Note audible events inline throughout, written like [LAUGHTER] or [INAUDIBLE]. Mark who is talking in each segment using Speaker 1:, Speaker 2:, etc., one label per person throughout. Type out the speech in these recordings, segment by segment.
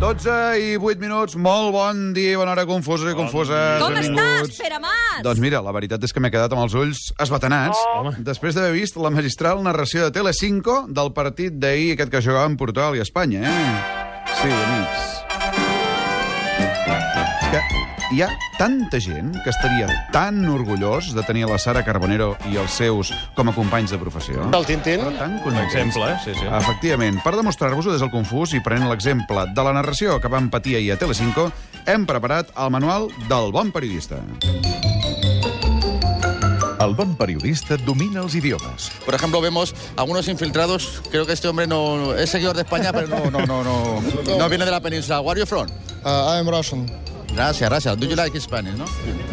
Speaker 1: 12 i 8 minuts, molt bon dia i bona hora, confusos i confuses.
Speaker 2: Com
Speaker 1: benvinguts.
Speaker 2: estàs, Pere Mas?
Speaker 1: Doncs mira, la veritat és que m'he quedat amb els ulls esbatanats
Speaker 2: Oh.
Speaker 3: Home.
Speaker 1: després d'haver vist la magistral narració de Telecinco del partit d'ahir, aquest que jugava en Portugal i Espanya, eh? Sí, amics. És que hi ha tanta gent que estaria tan orgullós de tenir la Sara Carbonero i els seus com a companys de professió.
Speaker 4: El Tintín?
Speaker 1: Però tan
Speaker 3: Per
Speaker 1: contents.
Speaker 3: exemple, eh? sí, sí.
Speaker 1: Ah, Efectivament, per demostrar-vos-ho des del confús i prenent l'exemple de la narració que vam patir ahir a Telecinco, hem preparat el manual del bon periodista.
Speaker 5: El bon periodista domina els idiomes.
Speaker 6: Por ejemplo, vemos algunos infiltrados. Creo que este hombre no es seguidor de España, pero no, no, no, no, no viene de la península. Where are you from?
Speaker 4: Uh, I'm Russian.
Speaker 6: Gracias, gracias. Do you like Spanish, no?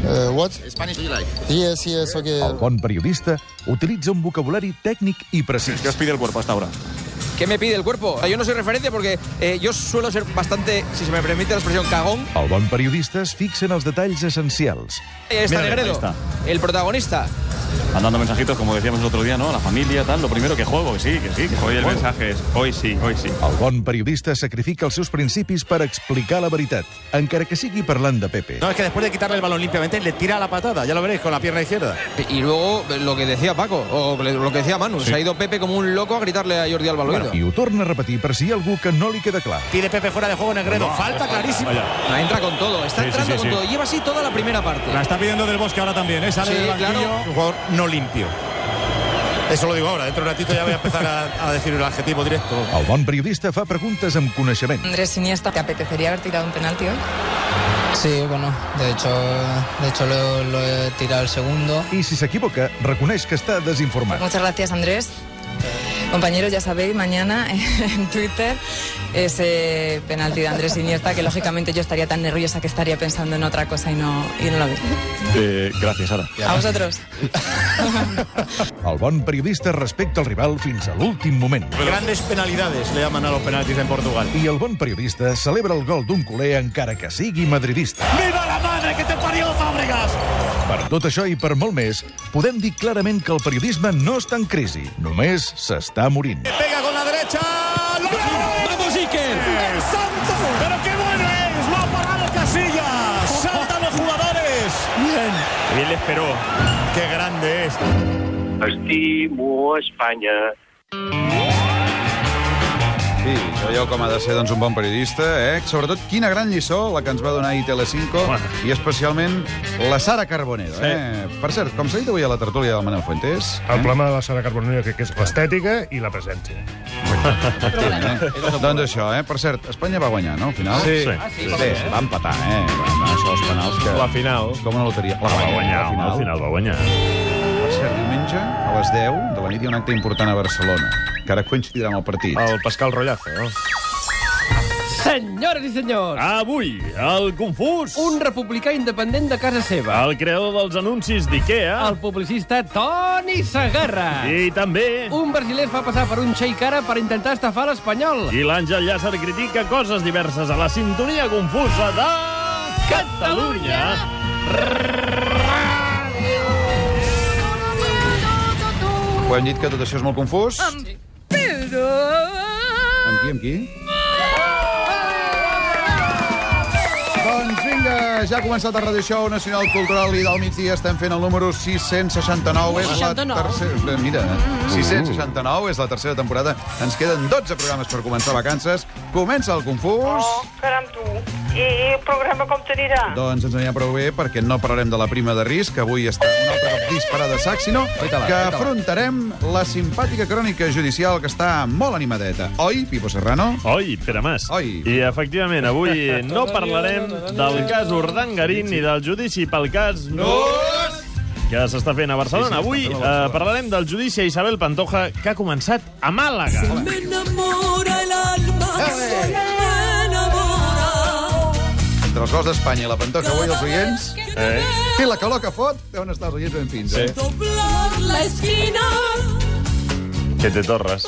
Speaker 4: Uh, what?
Speaker 6: Spanish do you like?
Speaker 4: Yes, yes, okay.
Speaker 5: El bon periodista utilitza un vocabulari tècnic i precís.
Speaker 7: ¿Qué os pide el cuerpo hasta ahora?
Speaker 8: ¿Qué me pide el cuerpo? Yo no soy referencia porque eh, yo suelo ser bastante, si se me permite la expresión, cagón.
Speaker 5: El bon periodista es fixa en els detalls essencials.
Speaker 8: Ahí está
Speaker 7: Mira, ahí
Speaker 8: Negredo,
Speaker 7: está.
Speaker 8: el protagonista.
Speaker 7: Andando mensajitos, como decíamos el otro día, ¿no? A la familia, tal. Lo primero que juego, que sí, que sí. Que
Speaker 9: Hoy el
Speaker 7: juego.
Speaker 9: mensaje es, hoy sí, hoy sí.
Speaker 5: El bon periodista sacrifica els seus principis per explicar la veritat, encara que sigui parlant de Pepe.
Speaker 6: No, es que después de quitarle el balón limpiamente le tira la patada, ya lo veréis, con la pierna izquierda.
Speaker 8: Y luego eh, lo que decía Paco, o lo que decía Manu, se ha ido Pepe como un loco a gritarle a Jordi Alba al oído.
Speaker 5: I ho torna a repetir per si hi ha algú que no li queda clar.
Speaker 6: Pide Pepe fuera de juego Negredo, falta clarísima.
Speaker 7: Vaya.
Speaker 8: Ah, Entra con todo, está
Speaker 7: Sí, sí,
Speaker 8: entrando
Speaker 7: sí,
Speaker 8: con
Speaker 7: sí.
Speaker 8: todo. Lleva así toda la primera parte.
Speaker 7: La está pidiendo del bosque ahora también, ¿eh? Sale
Speaker 8: Sí,
Speaker 7: del banquillo.
Speaker 8: claro.
Speaker 6: Un jugador no limpio. Eso lo digo ahora, dentro de un ratito ya voy a empezar a, a decir el adjetivo directo.
Speaker 5: El bon periodista fa preguntes amb coneixement.
Speaker 10: Andrés Iniesta, ¿te apetecería haber tirado un penalti hoy?
Speaker 8: Sí, bueno, de hecho, de hecho lo, he tirado el segundo.
Speaker 5: I si s'equivoca, reconeix que està desinformat.
Speaker 10: Muchas gracias, Andrés. Compañeros, ya sabéis, mañana [LAUGHS] en Twitter ese penalti de Andrés Iniesta, que lógicamente yo estaría tan nerviosa que estaría pensando en otra cosa y no, y no lo vi.
Speaker 7: Eh, gracias, Sara.
Speaker 10: A vosotros.
Speaker 5: El bon periodista respecta el rival fins a l'últim moment.
Speaker 6: Grandes penalidades le llaman a los penaltis en Portugal.
Speaker 5: I el bon periodista celebra el gol d'un culer encara que sigui madridista.
Speaker 6: ¡Viva la madre que te parió, Fábregas!
Speaker 5: Per tot això i per molt més, podem dir clarament que el periodisme no està en crisi, només s'està morint.
Speaker 6: Pega con la derecha. ¡Lo
Speaker 8: ¡Vamos, Iker!
Speaker 6: ¡El santo! ¡Pero qué bueno es! ¡Lo ha parado Casillas! ¡Saltan los jugadores! ¡Bien!
Speaker 9: Bien le esperó.
Speaker 6: ¡Qué grande es!
Speaker 9: Estimo España.
Speaker 1: Sí, veieu com ha de ser doncs, un bon periodista, eh? Sobretot, quina gran lliçó la que ens va donar ahir Telecinco, i especialment la Sara Carbonero, eh? Per cert, com s'ha dit avui a la tertúlia del Manel Fuentes...
Speaker 11: El problema de la Sara Carbonell crec que és l'estètica i la presència.
Speaker 1: Eh? Doncs això, eh? Per cert, Espanya va guanyar, no?, al final? Sí. sí. Bé, va empatar, eh? Va, això, els penals que...
Speaker 3: La final.
Speaker 1: És com una loteria. La
Speaker 3: Va
Speaker 1: guanya,
Speaker 3: guanyar,
Speaker 1: la
Speaker 3: home,
Speaker 1: final.
Speaker 3: al final va guanyar.
Speaker 1: Per cert, diumenge, a les 10 de la nit, hi ha un acte important a Barcelona, que ara coincidirà amb el partit.
Speaker 3: El Pascal Rollazo, no?
Speaker 8: Senyores i senyors,
Speaker 3: Avui, el confús.
Speaker 8: republicà independent de casa seva,
Speaker 3: El creador dels anuncis d'IKEA.
Speaker 8: publicista Toni Sagarra.
Speaker 3: I també...
Speaker 8: Un brasiler es fa passar per un xeic ara per intentar estafar l'espanyol.
Speaker 3: I l'Àngel Llàcer critica coses diverses a la sintonia confusa de... Catalunya!
Speaker 1: Ho hem dit que tot això és molt confús. Amb Pedro... Amb qui, amb qui? Doncs vinga, ja ha començat el Radio Show Nacional Cultural i del migdia estem fent el número 669. És la
Speaker 2: 69.
Speaker 1: tercera... Bé, Mira, 669 és la tercera temporada. Ens queden 12 programes per començar vacances. Comença el confús.
Speaker 10: Caram, tu. I el programa com t'anirà?
Speaker 1: Doncs ens anirà prou bé perquè no parlarem de la prima de risc, que avui està un altre cop disparada a sac, sinó que afrontarem la simpàtica crònica judicial que està molt animadeta. Oi, Pipo Serrano?
Speaker 3: Oi, Pere Mas.
Speaker 1: Oi.
Speaker 3: I, efectivament, avui no parlarem del cas Urdangarín ni del judici pel cas... Nos! que s'està fent a Barcelona. Avui eh, parlarem del judici a Isabel Pantoja, que ha començat a Màlaga.
Speaker 10: Me enamora el alma,
Speaker 1: Eh.
Speaker 10: me enamora.
Speaker 1: Entre els gols d'Espanya i la Pantoja avui, els oients...
Speaker 3: Eh?
Speaker 1: I la calor que fot, deuen estar els oients ben fins, eh?
Speaker 10: Doblar la esquina.
Speaker 3: Que te torres.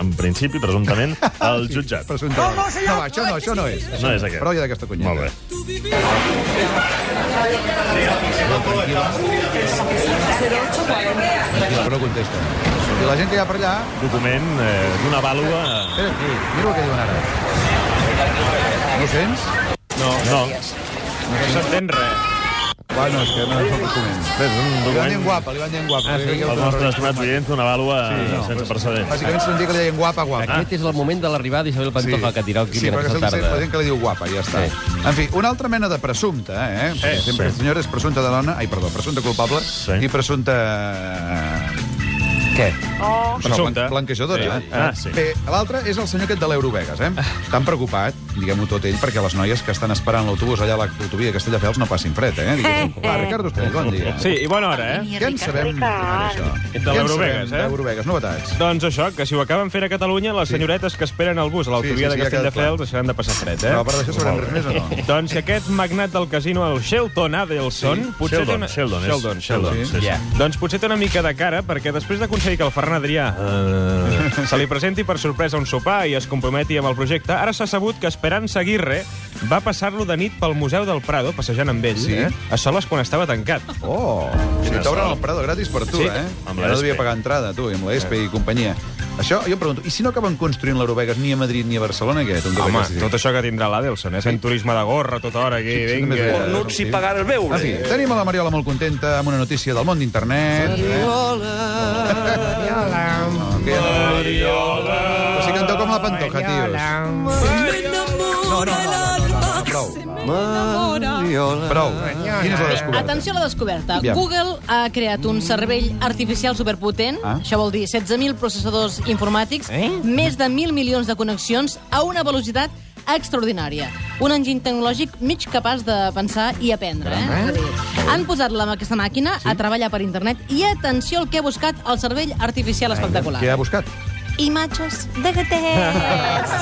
Speaker 3: en principi, presumptament,
Speaker 1: [LAUGHS]
Speaker 3: al jutjat.
Speaker 1: No, no, senyor! No, això no, això no és.
Speaker 3: No és aquest.
Speaker 1: Prou ja d'aquesta cunyeta. Molt
Speaker 3: bé.
Speaker 1: Però no contesta. I la gent que hi ha per allà...
Speaker 3: Document eh, d'una vàlua...
Speaker 1: Espera, aquí, mira el que diuen ara. No ho sents?
Speaker 3: No. No.
Speaker 1: No s'entén res. Bueno, és que no és el document.
Speaker 3: És un
Speaker 1: Li van
Speaker 3: document...
Speaker 1: dient guapa, li van dient guapa.
Speaker 3: Ah,
Speaker 1: Li van
Speaker 3: sí.
Speaker 1: dient
Speaker 3: Els
Speaker 1: guapa.
Speaker 3: nostres estimats oients, una vàlua
Speaker 1: Sí, no,
Speaker 3: Ah, sense precedents.
Speaker 1: Bàsicament se'n diu que li deien guapa, guapa.
Speaker 12: Aquest és Este el moment de l'arribada d'Isabel Pantoja, que dirà el
Speaker 1: sí,
Speaker 12: crim
Speaker 1: perquè
Speaker 12: aquesta
Speaker 1: sempre
Speaker 12: tarda.
Speaker 6: pues,
Speaker 1: la gent que li diu guapa, ja està. En fi, una altra mena de presumpte, eh? Perquè sempre sí. senyora és presumpta de dona, ai, perdó, presumpta culpable i presumpta... Què? Oh.
Speaker 5: Presumpte.
Speaker 1: Blanquejadora.
Speaker 5: Sí.
Speaker 1: eh?
Speaker 5: Ah, sí.
Speaker 1: Bé, l'altre és el senyor aquest de l'Eurovegas, eh? Tan preocupat, diguem-ho tot ell, perquè les noies que estan esperant l'autobús allà a l'autovia de Castelldefels no passin fred, eh? Diguéssim. Va, Ricardo Estell, bon dia.
Speaker 13: Sí, i bona hora, eh?
Speaker 1: Què en sabem d'això?
Speaker 13: De l'Eurovegas, eh?
Speaker 1: D'Eurovegas, novetats.
Speaker 13: Doncs això, que si ho acaben fent a Catalunya, les senyoretes que esperen el bus a l'autovia
Speaker 1: Sí, sí, sí,
Speaker 13: de
Speaker 1: ja queda
Speaker 13: Castelldefels
Speaker 1: clar.
Speaker 13: deixaran de passar fred, eh?
Speaker 1: Però a part d'això sabrem res més o no?
Speaker 13: Doncs que aquest magnat del casino, el Shelton Adelson...
Speaker 1: Sí,
Speaker 13: potser
Speaker 1: Sheldon,
Speaker 13: té una...
Speaker 1: Sheldon és.
Speaker 13: Sheldon, Sheldon.
Speaker 1: Sí, sí, sí.
Speaker 13: Yeah. Doncs potser té una mica de cara, perquè després d'aconseguir que el Ferran Adrià eh, se li presenti per sorpresa a un sopar i es comprometi amb el projecte, ara s'ha sabut que Esperanza Aguirre va passar-lo de nit pel Museu del Prado, passejant amb ell,
Speaker 1: Sí?
Speaker 13: eh? a soles quan estava tancat.
Speaker 1: Oh! Si t'obren el Prado gratis per tu,
Speaker 13: Sí,
Speaker 1: eh?
Speaker 13: amb
Speaker 1: Amb
Speaker 13: la
Speaker 1: la no devia
Speaker 13: SP.
Speaker 1: pagar entrada, tu, i amb la ESPE i companyia. Això, jo em pregunto, i si no acaben construint l'Eurovegas ni a Madrid ni a Barcelona, què? Tot
Speaker 13: Home, tot això que tindrà l'Adelson, eh? Sent turisme de gorra tota hora aquí, vinga.
Speaker 1: Cornuts i pagar el beure. En fi, tenim a la Mariola molt contenta amb una notícia del món d'internet. Mariola. Però si canteu com la Pantoja, tios. No, no, no, no, no, no, prou. Mariola. Prou. Quina és la descoberta?
Speaker 2: Atenció a la descoberta.
Speaker 1: Aviam.
Speaker 2: Google ha creat un cervell artificial superpotent,
Speaker 1: Ah.
Speaker 2: això vol dir 16.000 processadors informàtics,
Speaker 1: Eh?
Speaker 2: més de 1.000 milions de connexions a una velocitat extraordinària. Un enginy tecnològic mig capaç de pensar i aprendre. Eh? És a dir, Han posat la, aquesta màquina a treballar per internet i atenció al que ha buscat el cervell artificial espectacular.
Speaker 1: Què ha buscat?
Speaker 2: Imatges de gatets.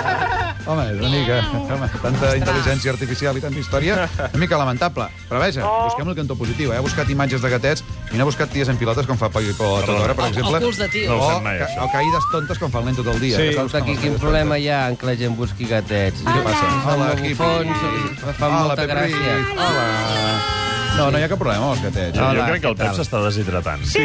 Speaker 1: [LAUGHS] Home, és una mica... Home, tanta intel·ligència artificial i tanta història, una mica lamentable. Però vaja, oh. busquem el cantó positiu. Eh? Ha buscat imatges de gatets i no ha buscat ties en pilotes com fa Pagui Pol tota hora, per
Speaker 2: O- o
Speaker 1: exemple.
Speaker 2: culs de tio. No ho
Speaker 1: O,
Speaker 2: sap mai,
Speaker 1: ca-
Speaker 2: això.
Speaker 1: o caïdes tontes com fa el nen tot el dia.
Speaker 12: Sí,
Speaker 1: que
Speaker 12: escolta, aquí quin problema hi ha en que la gent busqui gatets?
Speaker 1: Què passa? Hola,
Speaker 12: Hola,
Speaker 1: hippie.
Speaker 12: bufons, fa
Speaker 1: Hola,
Speaker 12: molta
Speaker 1: Pep
Speaker 12: gràcia.
Speaker 1: Ruiz. Hola. No, no hi ha cap problema amb els gatets.
Speaker 2: Ah,
Speaker 3: Jo, jo
Speaker 1: Hola,
Speaker 3: crec que el
Speaker 1: què
Speaker 3: Pep
Speaker 1: tal?
Speaker 3: s'està deshidratant. Sí.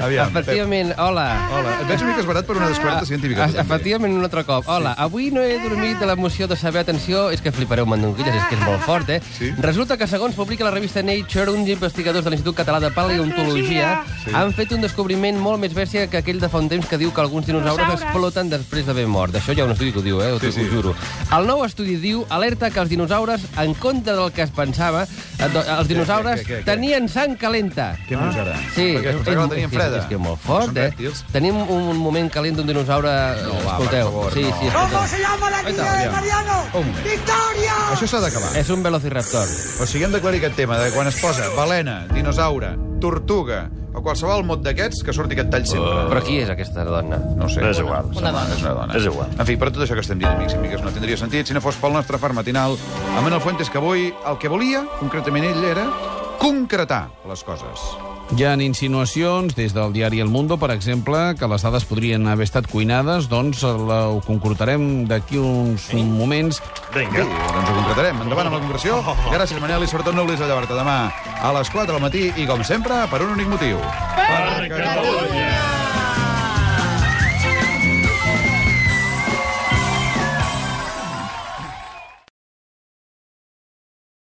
Speaker 1: Aviam, Pep.
Speaker 12: Efectivament, hola.
Speaker 1: Hola. Et veig una mica esbarat per una descoberta científica. tu, també.
Speaker 12: Efectivament, un altre cop. Hola, avui no he dormit de l'emoció de saber, atenció, és que flipareu mandonguilles, és que és molt fort, eh? Sí? Resulta que, segons publica la revista Nature, uns investigadors de l'Institut Català de Paleontologia
Speaker 14: Sí.
Speaker 12: sí. han fet un descobriment molt més bèstia que aquell de fa un temps que diu que alguns dinosaures
Speaker 14: Dinosaures.
Speaker 12: exploten després d'haver mort. Això hi ha un estudi que ho diu, eh? Ho, sí, sí. ho juro. El nou estudi diu, alerta que els dinosaures, en compte del que es pensava, eh, do-
Speaker 1: Què,
Speaker 12: els dinosaures
Speaker 1: què, què, què?
Speaker 12: tenien sang calenta.
Speaker 1: Què dius ara?
Speaker 12: Ah. Sí,
Speaker 1: Perquè es pensava que la tenien
Speaker 12: és-
Speaker 1: freda.
Speaker 12: És, és que molt fort,
Speaker 1: Són
Speaker 12: eh?
Speaker 1: rèptils.
Speaker 12: Tenim un moment calent d'un dinosaure... No,
Speaker 1: va, per
Speaker 12: escolteu.
Speaker 1: favor,
Speaker 12: sí,
Speaker 1: no.
Speaker 12: sí, escolteu.
Speaker 15: se llama la
Speaker 12: niña de
Speaker 15: Mariano? ¡Victoria!
Speaker 1: Això s'ha d'acabar.
Speaker 12: És un velociraptor.
Speaker 1: O sigui, hem d'aclarir aquest tema de quan es posa balena, dinosaure, tortuga o qualsevol mot d'aquests que surti aquest tall sempre.
Speaker 12: Oh. Però qui és aquesta dona?
Speaker 1: No ho sé.
Speaker 3: És igual.
Speaker 1: Una dona. És una dona.
Speaker 3: És igual.
Speaker 1: En fi, per tot això que estem dient, amics i amigues, no tindria sentit si no fos pel nostre far matinal. A Manuel Fuentes, que avui el que volia, concretament ell, era concretar les coses.
Speaker 16: Hi ha insinuacions des del diari El Mundo, per exemple, que les dades podrien haver estat cuinades, doncs la, ho concretarem d'aquí uns moments.
Speaker 1: Vinga. Doncs ho concretarem. Endavant amb la concreció. Gràcies, Manel, i sobretot no oblidis de llevar-te demà a les 4 del matí i, com sempre, per un únic motiu.
Speaker 15: Per Catalunya!